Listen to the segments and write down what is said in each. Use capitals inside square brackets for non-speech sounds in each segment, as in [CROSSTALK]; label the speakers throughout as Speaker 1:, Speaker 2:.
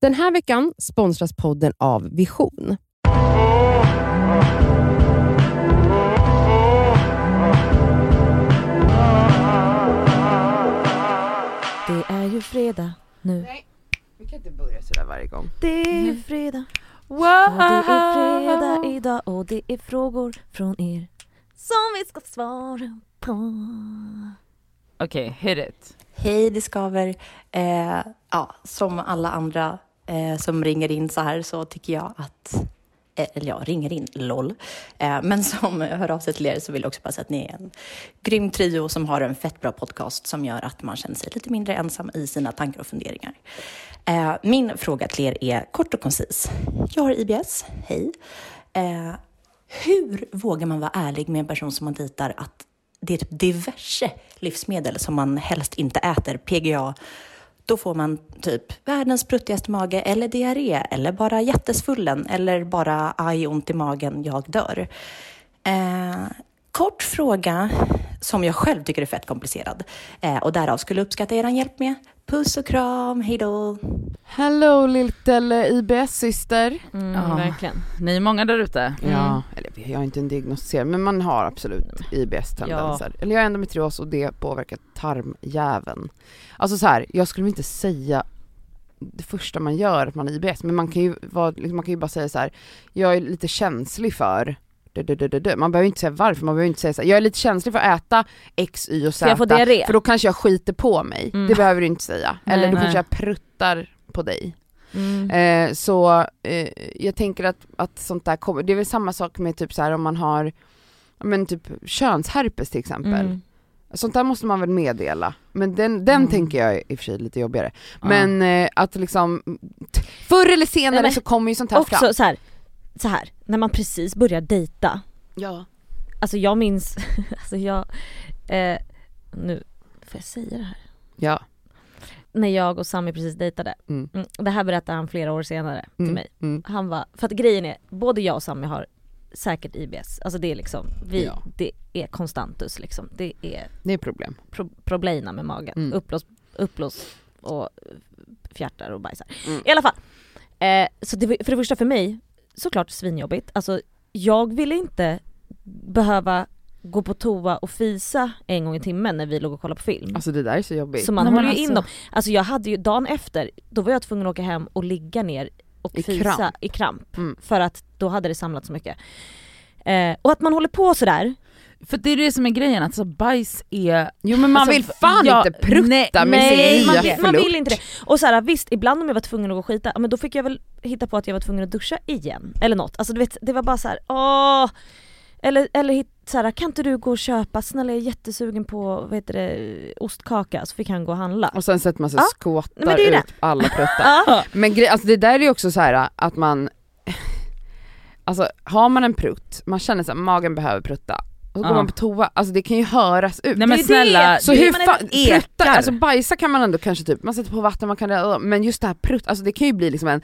Speaker 1: Den här veckan sponsras podden av Vision.
Speaker 2: Det är ju fredag nu.
Speaker 1: Vi kan inte börja sådär varje gång.
Speaker 2: Det är ju fredag.
Speaker 3: Wow!
Speaker 2: Och det är fredag idag och det är frågor från er som vi ska svara på. Mm,
Speaker 3: Okej, hit it.
Speaker 4: Hej, det skaver. Eh, ja, som alla andra eh, som ringer in så här så tycker jag att... eh, Eller ja, ringer in, LOL. Eh, men som [LAUGHS] hör av sig till er så vill jag också bara säga att ni är en grym trio som har en fett bra podcast som gör att man känner sig lite mindre ensam i sina tankar och funderingar. Eh, min fråga till er är kort och koncis. Jag har IBS, hej. Eh, hur vågar man vara ärlig med en person som man dejtar att det är typ diverse livsmedel som man helst inte äter, PGA, då får man typ världens pruttigaste mage eller diarré eller bara jättesvullen eller bara aj, ont i magen, jag dör. Eh, kort fråga som jag själv tycker är fett komplicerad eh, och därav skulle uppskatta er hjälp med. Puss och kram, hejdå!
Speaker 5: Hello little IBS-syster.
Speaker 3: Mm,
Speaker 5: Ja.
Speaker 3: Verkligen. Ni är många där ute.
Speaker 5: Ja, eller jag är inte en diagnostiserad men man har absolut IBS-tendenser. Eller jag har endometrios och det påverkar tarmjäveln. Alltså så här, jag skulle inte säga det första man gör att man har IBS men man kan ju, vara, liksom, man kan ju bara säga så här, jag är lite känslig för dö, dö, dö, dö, dö. Man behöver ju inte säga varför, man behöver ju inte säga så här, jag är lite känslig för att äta X, Y och Z
Speaker 2: För jag får diarré.
Speaker 5: för då kanske jag skiter på mig.
Speaker 3: Mm.
Speaker 5: Det behöver du inte säga.
Speaker 3: Nej,
Speaker 5: Eller då
Speaker 3: nej.
Speaker 5: kanske jag pruttar på dig.
Speaker 3: Mm.
Speaker 5: Eh, så eh, jag tänker att, att sånt där kommer, det är väl samma sak med typ så här om man har ja, men typ könsherpes till exempel.
Speaker 3: Mm.
Speaker 5: Sånt där måste man väl meddela. Men den, den
Speaker 3: Mm.
Speaker 5: tänker jag är i och för sig lite jobbigare.
Speaker 3: Ja.
Speaker 5: Men eh, att liksom, t- förr eller senare
Speaker 2: Nej, men
Speaker 5: så kommer ju sånt här fram.
Speaker 2: Också så här, så här, när man precis börjar dejta.
Speaker 5: Ja.
Speaker 2: Alltså jag minns, [LAUGHS] alltså jag, eh, nu, får jag säga det här?
Speaker 5: Ja.
Speaker 2: När jag och Sami precis dejtade.
Speaker 5: Mm.
Speaker 2: Mm, det här berättade han flera år senare till
Speaker 5: Mm,
Speaker 2: mig.
Speaker 5: Mm.
Speaker 2: Han var, för att grejen är, både jag och Sami har säkert IBS. Alltså det är liksom, vi,
Speaker 5: Ja.
Speaker 2: det är konstantus liksom. Det är
Speaker 5: Det är problem.
Speaker 2: pro- problema med magen.
Speaker 5: Mm.
Speaker 2: Uppblås, uppblås och eh, fjärtar och bajsar.
Speaker 5: Mm.
Speaker 2: I alla fall. Eh, så det, var- för det första för mig, såklart svinjobbigt. Alltså jag ville inte behöva gå på toa och fisa en gång i timmen när vi låg och kollade på film.
Speaker 5: Alltså det där är så jobbigt.
Speaker 2: så man
Speaker 3: Nej, men
Speaker 2: håller ju in
Speaker 3: alltså-
Speaker 2: dem. Alltså jag hade ju, dagen efter, då var jag tvungen att åka hem och ligga ner och
Speaker 5: I
Speaker 2: fisa
Speaker 5: kramp.
Speaker 2: i kramp.
Speaker 5: Mm.
Speaker 2: För att då hade det samlat så mycket. Eh, och att man håller på sådär,
Speaker 3: För det är det som är grejen, alltså bajs är...
Speaker 5: Jo men man
Speaker 3: Alltså,
Speaker 5: vill fan
Speaker 3: ja,
Speaker 5: inte prutta med
Speaker 2: Nej,
Speaker 5: sin
Speaker 2: man,
Speaker 5: nya
Speaker 2: vill, man
Speaker 5: förlust.
Speaker 2: vill inte det. Och så här, visst, ibland om jag var tvungen att gå och skita, ja, men då fick jag väl hitta på att jag var tvungen att duscha igen. Eller något. Alltså du vet, det var bara så här, åh. Eller, eller hit- så här, kan inte du gå och köpa, snälla jag är jättesugen på, vad heter det, ostkaka. Så fick han gå och handla.
Speaker 5: Och sen sätter man sig och
Speaker 2: Ja. Nej,
Speaker 5: skåtar
Speaker 2: men det är ju
Speaker 5: ut alla pruttar.
Speaker 2: Ja.
Speaker 5: Men gre- alltså det där är ju också så här att man, alltså har man en prutt, man känner att magen behöver prutta, och så
Speaker 3: Ja.
Speaker 5: går man på toa, alltså det kan ju höras ut.
Speaker 3: Nej men
Speaker 2: det.
Speaker 3: snälla,
Speaker 5: så
Speaker 2: det-
Speaker 5: hur
Speaker 2: man är-
Speaker 5: fan,
Speaker 3: ekar.
Speaker 5: prutta, alltså bajsa kan man ändå kanske typ, man sätter på vatten, man kan röra, men just det här prutt, alltså det kan ju bli liksom en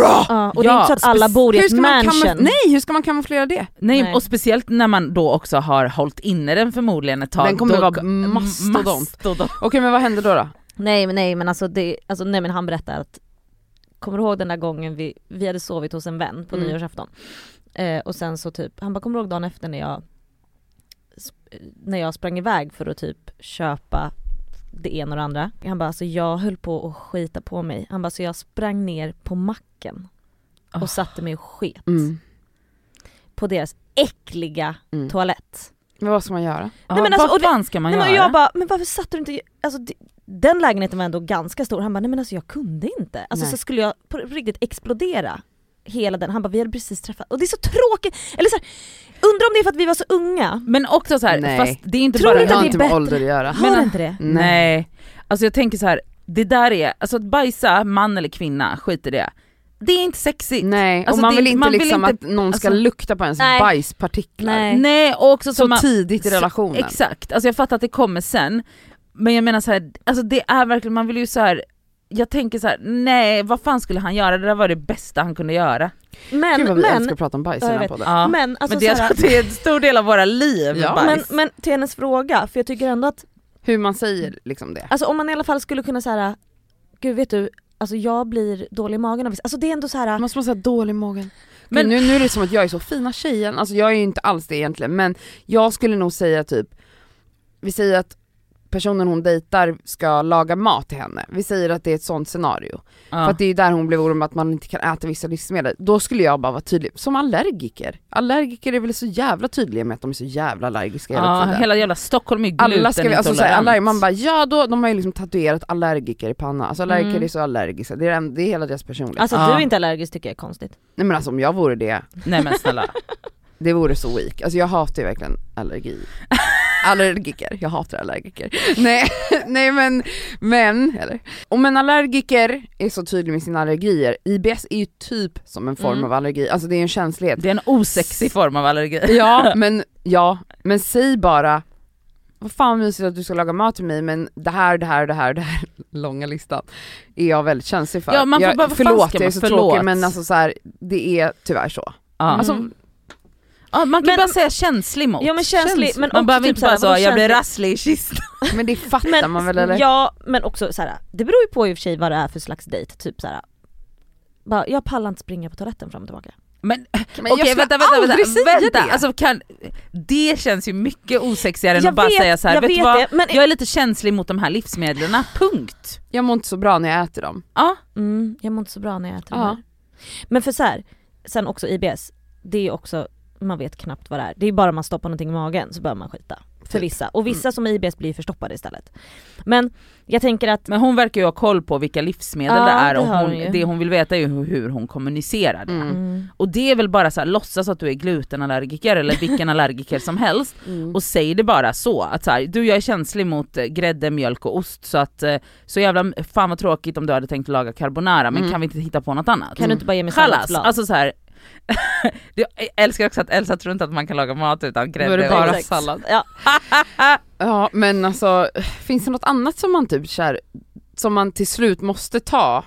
Speaker 2: Ja, och det
Speaker 3: Ja,
Speaker 2: är inte så att alla bor i
Speaker 5: hur
Speaker 2: ett
Speaker 5: ska man kamuf-
Speaker 2: mansion.
Speaker 5: Nej hur ska man kamouflera det?
Speaker 3: nej,
Speaker 2: Nej.
Speaker 3: och speciellt när man då också har hållit inne den förmodligen ett tag.
Speaker 5: Den kommer
Speaker 3: då,
Speaker 5: vara mastodont.
Speaker 3: mastodont.
Speaker 5: Okej men vad händer då då?
Speaker 2: Nej men nej men alltså, det, alltså nej men han berättar att Kommer du ihåg den där gången vi, vi hade sovit hos en vän på
Speaker 5: Mm.
Speaker 2: nyårsafton? Eh, och sen så typ, han bara kommer du ihåg dagen efter när jag sp- När jag sprang iväg för att typ köpa det ena och det andra. Han bara alltså jag höll på att skita på mig. Han bara så jag sprang ner på macken och
Speaker 3: Ah.
Speaker 2: satte mig och sket
Speaker 5: Mm.
Speaker 2: på deras äckliga
Speaker 5: Mm.
Speaker 2: toalett.
Speaker 5: Men vad ska man göra?
Speaker 3: Ja,
Speaker 2: men alltså, och
Speaker 3: vad
Speaker 2: det-
Speaker 3: fan ska man
Speaker 2: Nej, men
Speaker 3: göra?
Speaker 2: jag bara, men varför satte du inte, alltså d- den lägenheten var ändå ganska stor, han bara nej men alltså jag kunde inte. Alltså
Speaker 5: Nej.
Speaker 2: så skulle jag på riktigt explodera hela den, han bara vi hade precis träffat och det är så tråkigt, eller så här, undrar om det är för att vi var så unga,
Speaker 3: men också så här,
Speaker 5: Nej.
Speaker 3: fast det är inte
Speaker 2: Tror
Speaker 3: bara...
Speaker 2: ni
Speaker 5: det
Speaker 2: inte
Speaker 5: har
Speaker 2: det är
Speaker 5: inte med
Speaker 2: bättre?
Speaker 5: ålder att göra.
Speaker 2: har
Speaker 3: Men-
Speaker 2: men, inte det?
Speaker 3: Nej. alltså jag tänker så här. det där är, alltså att bajsa, man eller kvinna, skit i det. Det är inte sexigt.
Speaker 5: Nej, och
Speaker 3: Alltså,
Speaker 5: man
Speaker 3: det-
Speaker 5: vill inte
Speaker 3: man vill
Speaker 5: liksom
Speaker 3: inte-
Speaker 5: att någon ska
Speaker 3: alltså-
Speaker 5: lukta på ens
Speaker 2: Nej.
Speaker 5: bajspartiklar.
Speaker 2: Nej.
Speaker 3: Nej och också
Speaker 5: Så
Speaker 3: som man,
Speaker 5: tidigt i
Speaker 3: så-
Speaker 5: relationen.
Speaker 3: Exakt, alltså jag fattar att det kommer sen. Men jag menar så här, alltså det är verkligen, man vill ju så här. jag tänker så här: nej vad fan skulle han göra? Det där var det bästa han kunde göra.
Speaker 2: Men,
Speaker 5: Gud vad vi älskar
Speaker 2: men,
Speaker 5: att prata om bajs i
Speaker 2: Ja,
Speaker 5: den
Speaker 2: jag
Speaker 5: här
Speaker 2: vet.
Speaker 5: podden.
Speaker 3: Ja. Men,
Speaker 2: men alltså
Speaker 3: det,
Speaker 2: så här,
Speaker 3: [LAUGHS] det är en stor del av våra liv,
Speaker 5: Ja.
Speaker 2: men,
Speaker 3: bajs.
Speaker 2: men till hennes fråga, för jag tycker ändå att,
Speaker 5: Hur man säger liksom det.
Speaker 2: alltså om man i alla fall skulle kunna säga gud vet du, alltså jag blir dålig i magen av vissa, alltså det är ändå så här.
Speaker 5: Man måste vara så här dålig i magen. Men
Speaker 3: Men-
Speaker 5: nu, nu är det som att jag är så fina tjejen, alltså jag är ju inte alls det egentligen men jag skulle nog säga typ, vi säger att personen hon dejtar ska laga mat till henne, vi säger att det är ett sånt scenario. För
Speaker 3: Ja.
Speaker 5: att det är ju där hon blev orolig med att man inte kan äta vissa livsmedel. Då skulle jag bara vara tydlig, som allergiker. Allergiker är väl så jävla tydliga med att de är så jävla allergiska hela
Speaker 3: ja,
Speaker 5: tiden.
Speaker 3: hela jävla Stockholm är
Speaker 5: alla ska vi, alltså såhär,
Speaker 3: glutenintolerant.
Speaker 5: allerg- man bara ja då, de har ju liksom tatuerat allergiker i pannan, alltså allergiker
Speaker 2: Mm.
Speaker 5: är så allergiska, det är, den- det är hela deras personlighet.
Speaker 2: Alltså
Speaker 3: Ja.
Speaker 2: att du inte är allergisk tycker jag är konstigt.
Speaker 5: Nej men alltså om jag vore det,
Speaker 3: Nej men snälla.
Speaker 5: det vore så weak. Alltså jag hatar ju verkligen
Speaker 2: [LAUGHS]
Speaker 5: allergi. Allergiker, jag hatar allergiker. Nej, [LAUGHS] nej men, men, eller. Om en allergiker är så tydlig med sina allergier, IBS är ju typ som en form
Speaker 2: Mm.
Speaker 5: av allergi, alltså det är en känslighet.
Speaker 3: Det är en osexig form av allergi. [LAUGHS]
Speaker 5: Ja men, ja, men säg bara vad fan mysigt att du ska laga mat till mig men det här, det här, det här, [LAUGHS] det här, långa listan är jag väldigt känslig för.
Speaker 3: Ja, man får
Speaker 5: jag,
Speaker 3: bara- vad fan
Speaker 5: förlåt,
Speaker 3: ska
Speaker 5: jag är
Speaker 3: man-
Speaker 5: så
Speaker 3: förlåt.
Speaker 5: tråkig men alltså så här, det är tyvärr så.
Speaker 3: Ja. Mm.
Speaker 5: Alltså,
Speaker 3: Ja, man kan
Speaker 2: Men-
Speaker 3: bara säga känslig mot.
Speaker 2: Ja, men känslig, men
Speaker 3: man
Speaker 2: också
Speaker 3: behöver
Speaker 2: typ
Speaker 3: inte bara
Speaker 2: så här,
Speaker 3: säga jag
Speaker 2: vadå
Speaker 3: blir
Speaker 2: känslig?
Speaker 3: rasslig i kistan.
Speaker 5: men det fattar
Speaker 2: Men,
Speaker 5: man väl eller?
Speaker 2: Ja men också så här. det beror ju på i och för sig vad det är för slags dejt, typ så här. Bara, jag pallar inte springa på toaletten fram och tillbaka.
Speaker 3: Men
Speaker 5: Men
Speaker 3: okej
Speaker 5: jag
Speaker 3: vänta
Speaker 5: skulle
Speaker 3: vänta,
Speaker 5: aldrig
Speaker 3: vänta,
Speaker 5: säga
Speaker 3: vänta.
Speaker 5: det.
Speaker 3: Det. Alltså, kan, det känns ju mycket osexigare än
Speaker 2: Jag
Speaker 3: att bara
Speaker 2: vet,
Speaker 3: säga så här.
Speaker 2: jag
Speaker 3: vet du
Speaker 2: vet
Speaker 3: vad?
Speaker 2: det, men-
Speaker 3: Jag är lite känslig mot de här livsmedlen, punkt.
Speaker 5: Jag mår inte så bra när jag äter dem.
Speaker 3: Ja,
Speaker 2: Mm, jag mår inte så bra när jag äter
Speaker 5: Ja.
Speaker 2: det här. Men för så här, sen också IBS, det är också, man vet knappt vad det är. Det är bara man stoppar någonting i magen så börjar man skita. För
Speaker 5: Typ.
Speaker 2: vissa. Och vissa som har IBS blir förstoppade istället. Men jag tänker att,
Speaker 3: men hon verkar ju ha koll på vilka livsmedel
Speaker 2: Ja,
Speaker 3: det är och
Speaker 2: det har hon
Speaker 3: hon,
Speaker 2: ju.
Speaker 3: det hon vill veta är ju hur- hur hon kommunicerar det.
Speaker 5: Mm.
Speaker 2: mm,
Speaker 3: Och det är väl bara så här, låtsas att du är glutenallergiker eller vilken allergiker
Speaker 2: [LAUGHS]
Speaker 3: som helst
Speaker 5: Mm.
Speaker 3: och säg det bara så att så här, du jag är känslig mot eh, grädde, mjölk och ost så att eh, så jävla fan vad tråkigt om du hade tänkt laga carbonara men
Speaker 5: Mm.
Speaker 3: kan vi inte hitta på något annat?
Speaker 2: kan du inte bara ge mig
Speaker 3: Chalas,
Speaker 2: salladsblad?
Speaker 3: alltså så här. [LAUGHS] jag älskar också att Elsa tror inte att man kan laga mat utan
Speaker 5: Då är
Speaker 3: grädde
Speaker 5: det
Speaker 3: och
Speaker 5: bara
Speaker 3: ost.
Speaker 5: sallad.
Speaker 2: Ja.
Speaker 5: ja men alltså, finns det något annat som man typ kär, som man till slut måste ta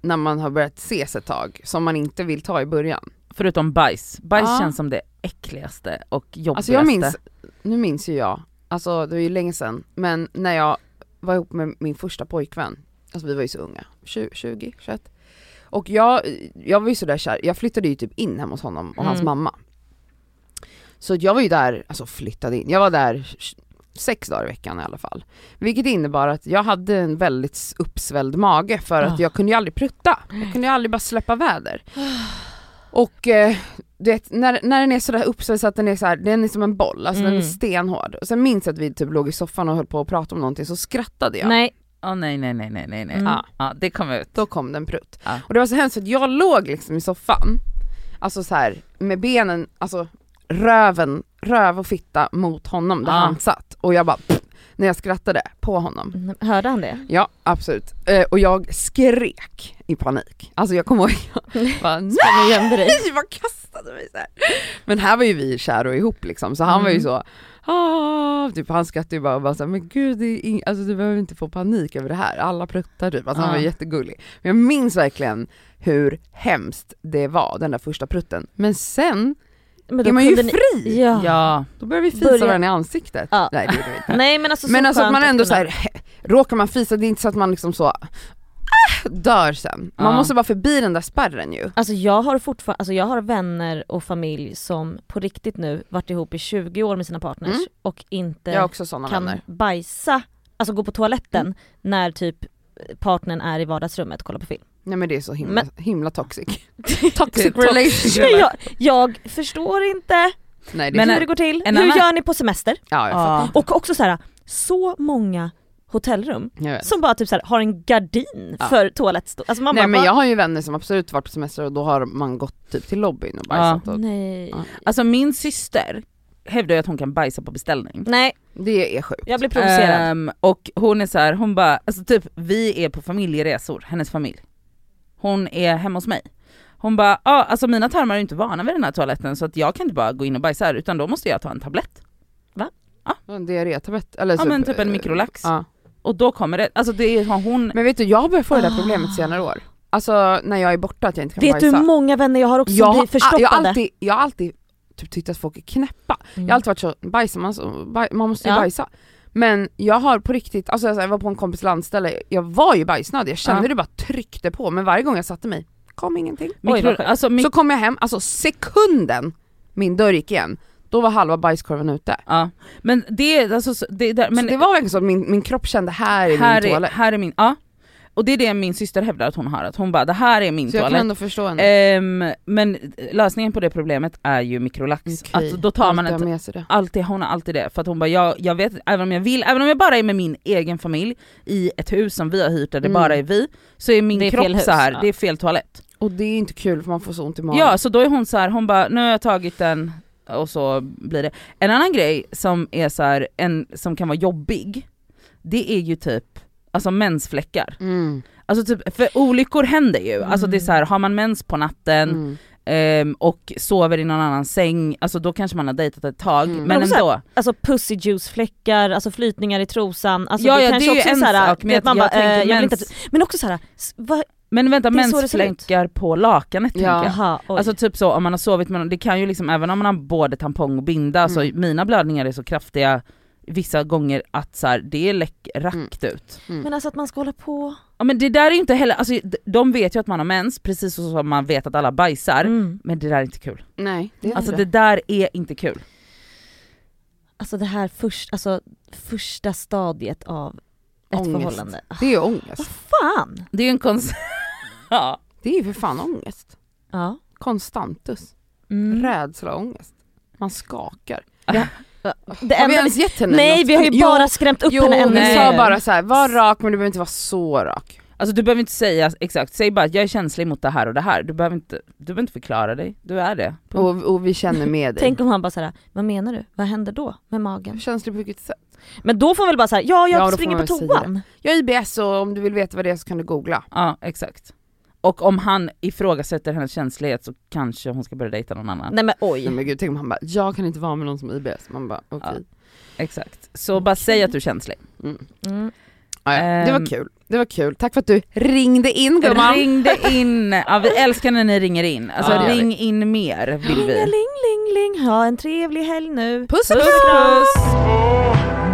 Speaker 5: när man har börjat ses ett tag, som man inte vill ta i början?
Speaker 3: Förutom bajs, bajs
Speaker 5: Ja. känns
Speaker 3: känns som det äckligaste och jobbigaste.
Speaker 5: Alltså jag minns, nu minns ju jag, alltså det var ju länge sedan, men när jag var ihop med min första pojkvän, alltså vi var ju så unga, 20, 20 21. Och jag, jag var ju sådär kär, jag flyttade ju typ in hemma hos honom och hans
Speaker 2: Mm.
Speaker 5: mamma. Så att jag var ju där, alltså flyttade in, jag var där sex dagar i veckan i alla fall. Vilket innebar att jag hade en väldigt uppsvälld mage för att
Speaker 3: Ah.
Speaker 5: jag kunde ju aldrig prutta, jag kunde ju aldrig bara släppa väder. Och eh, du vet, när, när den är sådär uppsvälld så att den är så här, den är som en boll, alltså den är
Speaker 2: Mm.
Speaker 5: stenhård. Och sen minns jag att vi typ låg i soffan och höll på att prata om någonting så skrattade jag.
Speaker 2: Nej,
Speaker 3: Åh nej nej nej nej nej nej.
Speaker 2: Mm.
Speaker 3: Ja. Ja, det kom ut.
Speaker 5: Då kom den prutt.
Speaker 3: Ja.
Speaker 5: Och det var så hemskt för att jag låg liksom i soffan, alltså så här med benen, alltså röven, röv och fitta mot honom där
Speaker 3: Ja.
Speaker 5: han satt. Och jag bara pff, när jag skrattade på honom.
Speaker 2: Mm, hörde han det?
Speaker 5: Ja absolut. Eh, och jag skrek i panik. Alltså jag kommer ihåg, jag bara, nej!
Speaker 2: Kom och gömde dig.
Speaker 5: [LAUGHS] Nej, vad kastade mig så här. Men här var ju vi kära och ihop liksom, så han var
Speaker 2: Mm.
Speaker 5: ju så, ah, typ han skrattade ju bara och bara så här, men gud det är ing- alltså, du behöver inte få panik över det här, alla pruttar typ. Alltså, Han var
Speaker 3: Ja.
Speaker 5: jättegullig. Men jag minns verkligen hur hemskt det var, den där första prutten. Men sen
Speaker 2: Men
Speaker 5: är man ju
Speaker 2: kunde ni-
Speaker 5: fri!
Speaker 2: Ja.
Speaker 3: Ja.
Speaker 5: Då börjar vi fisa
Speaker 2: Börja-
Speaker 5: varandra i ansiktet.
Speaker 2: Ja.
Speaker 5: Nej det gjorde vi inte.
Speaker 2: Nej [LAUGHS] men alltså så
Speaker 5: Men alltså att
Speaker 2: skönt
Speaker 5: man ändå
Speaker 2: kunna-
Speaker 5: så här, [LAUGHS] he- råkar man fisa, det är inte så att man liksom så ah, dör sen. Man
Speaker 3: Ja.
Speaker 5: måste vara förbi den där spärren ju.
Speaker 2: Alltså jag har fortfarande, alltså jag har vänner och familj som på riktigt nu varit ihop i 20 år med sina partners
Speaker 5: Mm.
Speaker 2: och inte
Speaker 5: Jag har också sådana
Speaker 2: kan
Speaker 5: vänner. Mm.
Speaker 2: bajsa, alltså gå på toaletten när typ partnern är i vardagsrummet och kollar på film.
Speaker 5: Nej men det är så himla,
Speaker 2: Men-
Speaker 5: himla toxic.
Speaker 3: Det är
Speaker 5: toxic
Speaker 3: toxic
Speaker 5: relationship.
Speaker 2: Jag, jag förstår inte
Speaker 5: Nej, det är
Speaker 3: Men-
Speaker 5: så-
Speaker 2: hur det går till, hur
Speaker 3: en annan-
Speaker 2: gör ni på semester?
Speaker 5: ja, jag fattar.
Speaker 3: Ja.
Speaker 2: Och också så här, så många hotellrum
Speaker 5: Jag vet.
Speaker 2: som bara typ så här, har en gardin
Speaker 5: Ja.
Speaker 2: för toalettstol. Alltså man
Speaker 5: Nej
Speaker 2: bara,
Speaker 5: men jag har ju vänner som absolut varit på semester och då har man gått typ till lobbyn och bajsat.
Speaker 2: "Va?
Speaker 5: Och
Speaker 2: Nej.
Speaker 5: Ja.
Speaker 3: Alltså min syster hävdar ju att hon kan bajsa på beställning.
Speaker 5: Mm.
Speaker 2: Nej,
Speaker 5: det är sjukt.
Speaker 2: jag blir
Speaker 5: Eh,
Speaker 2: provocerad.
Speaker 3: Ehm, och hon är så här, hon bara, alltså typ vi är på familjeresor, hennes familj. Hon är hemma hos mig. Hon bara, ah, alltså mina tarmar är ju inte vana vid den här toaletten så att jag kan inte bara gå in och bajsa här utan då måste jag ta en tablett.
Speaker 5: En diarrétablett. Eller eh,
Speaker 3: Ja men typ en mikrolax.
Speaker 5: Ja.
Speaker 3: Och då kommer det, alltså det har hon,
Speaker 5: Men vet du, jag börjar få det där problemet senare år. Alltså när jag är borta att jag inte kan
Speaker 2: Vet du
Speaker 5: bajsa.
Speaker 2: hur många vänner jag har också
Speaker 5: jag,
Speaker 2: som blir
Speaker 5: har-
Speaker 2: förstoppade?
Speaker 5: jag har alltid, jag
Speaker 3: Mm.
Speaker 5: har alltid typ tyckt att folk är knäppa. Jag har alltid varit så, bajsar man så, baj, man måste ju
Speaker 2: Ja.
Speaker 5: bajsa. Men jag har på riktigt, alltså jag var på en kompis landställe, jag var ju bajsnödig, jag kände
Speaker 3: Ja.
Speaker 5: det bara tryckte på men varje gång jag satte mig kom ingenting.
Speaker 2: Oj,
Speaker 3: Mikro,
Speaker 2: vad skönt.
Speaker 3: alltså, mik-
Speaker 5: Så kom jag hem, alltså sekunden min dörr gick igen, då var halva bajskorven ute.
Speaker 3: ja. Men det, alltså, så- det, där,
Speaker 5: Men
Speaker 3: men
Speaker 5: så det var verkligen så att min, min kropp kände här är
Speaker 3: här,
Speaker 5: min
Speaker 3: är,
Speaker 5: toalett.
Speaker 3: här är min, ja. Och det är det min syster hävdar att hon har, att hon bara det här är min
Speaker 5: Så jag kan
Speaker 3: toalett.
Speaker 5: ändå förstå henne.
Speaker 3: Ehm, men lösningen på det problemet är ju mikrolax.
Speaker 5: Okej,
Speaker 3: Att då tar man
Speaker 5: måste
Speaker 3: ett
Speaker 5: jag med sig det.
Speaker 3: Alltid, hon har alltid det, för att hon bara jag, jag vet, även om jag vill, även om jag bara är med min egen familj i ett hus som vi har hyrt där det
Speaker 5: Mm.
Speaker 3: bara är vi, så är min
Speaker 2: Det är
Speaker 3: kropp
Speaker 2: fel hus,
Speaker 3: så här,
Speaker 2: ja.
Speaker 3: det är fel toalett.
Speaker 5: Och det är inte kul för man får så ont i magen.
Speaker 3: Ja så då är hon så här, hon bara nu har jag tagit den och så blir det. En annan grej som är så här, en, som kan vara jobbig, det är ju typ Alltså mensfläckar.
Speaker 5: Mm.
Speaker 3: Alltså typ, för olyckor händer ju. Alltså det är så här, har man mens på natten
Speaker 5: Mm.
Speaker 3: ehm, och sover i någon annan säng, alltså då kanske man har dejtat ett tag.
Speaker 5: Mm.
Speaker 3: Men
Speaker 2: Men också
Speaker 3: ändå.
Speaker 2: Alltså pussyjuicefläckar, alltså flytningar i trosan, alltså
Speaker 3: Ja,
Speaker 2: det
Speaker 3: ja,
Speaker 2: kanske
Speaker 3: det är ju
Speaker 2: också
Speaker 3: en
Speaker 2: är såhär,
Speaker 3: sak, men
Speaker 2: du vet, man
Speaker 3: jag- jag
Speaker 2: bara, eh,
Speaker 3: tänker
Speaker 2: jag vill
Speaker 3: mens-
Speaker 2: inte att, men också såhär, s- vad,
Speaker 3: Men vänta,
Speaker 2: Det är så det ser
Speaker 3: mensfläckar på lakanet tänker
Speaker 5: Ja.
Speaker 3: jag.
Speaker 2: jaha, oj.
Speaker 3: Alltså typ så om man har sovit med någon, det kan ju liksom även om man har både tampong och binda, så
Speaker 5: Mm.
Speaker 3: mina blödningar är så kraftiga vissa gånger att så här, det är läck, rakt
Speaker 5: Mm.
Speaker 3: ut.
Speaker 2: men alltså att man ska hålla på.
Speaker 3: Ja men det där är ju inte heller, alltså d- de vet ju att man har mens precis så som man vet att alla bajsar,
Speaker 2: Mm.
Speaker 3: men det där är inte kul.
Speaker 5: Nej, det är inte
Speaker 3: Alltså
Speaker 5: det.
Speaker 3: det där är inte kul.
Speaker 2: Alltså det här först, alltså, första stadiet av ett
Speaker 5: Ångest.
Speaker 2: förhållande. Ah,
Speaker 5: Det är ju ångest.
Speaker 2: Fan!
Speaker 3: Det är ju en konst... [LAUGHS] ja.
Speaker 5: Det är ju för fan ångest.
Speaker 2: Ja.
Speaker 5: Konstantus.
Speaker 2: Mm.
Speaker 5: Mm. Rädsla och ångest. Man skakar.
Speaker 2: Det
Speaker 5: har vi
Speaker 2: enda vi,
Speaker 5: ens gett henne
Speaker 2: nej
Speaker 5: något?
Speaker 2: vi har ju
Speaker 5: Jo,
Speaker 2: bara skrämt upp
Speaker 5: Jo,
Speaker 2: henne ännu
Speaker 5: vi
Speaker 3: Nej.
Speaker 5: sa
Speaker 2: mer.
Speaker 5: bara så här, var rak men du behöver inte vara så rak.
Speaker 3: Alltså du behöver inte säga exakt, säg bara att jag är känslig mot det här och det här. Du behöver inte, du behöver inte förklara dig, du är det. Punkt.
Speaker 5: Och, och vi känner med
Speaker 2: Mm.
Speaker 5: dig.
Speaker 2: Tänk om han bara såhär, vad menar du? Vad händer då med magen?
Speaker 5: Känslig på vilket sätt?
Speaker 2: Men då får han väl bara såhär, ja jag
Speaker 5: Mm. Ja, då får
Speaker 2: springer
Speaker 5: man
Speaker 2: på
Speaker 5: väl säga
Speaker 2: toan.
Speaker 5: Jag är IBS och om du vill veta vad det är så kan du googla.
Speaker 3: Ja exakt. Och om han ifrågasätter hennes känslighet så kanske hon ska börja dejta någon annan.
Speaker 2: Nej men
Speaker 5: Nej
Speaker 2: oj.
Speaker 5: men gud, tänk om han bara, jag kan inte vara med någon som har IBS. Man bara okej.
Speaker 3: Exakt. Så bara säg att du är känslig.
Speaker 2: Mm.
Speaker 5: Ja, ja. Det
Speaker 3: Ehm.
Speaker 5: var kul, det var kul. Tack för att du ringde in [LAUGHS] gumman.
Speaker 3: Ringde in, ja, vi älskar när ni ringer in. Alltså
Speaker 5: Ja, det gör vi.
Speaker 3: ring in mer vill vi.
Speaker 2: Ringeling, ling, ling, ha en trevlig helg nu.
Speaker 5: Puss
Speaker 3: Puss puss!
Speaker 5: puss!
Speaker 6: Oh,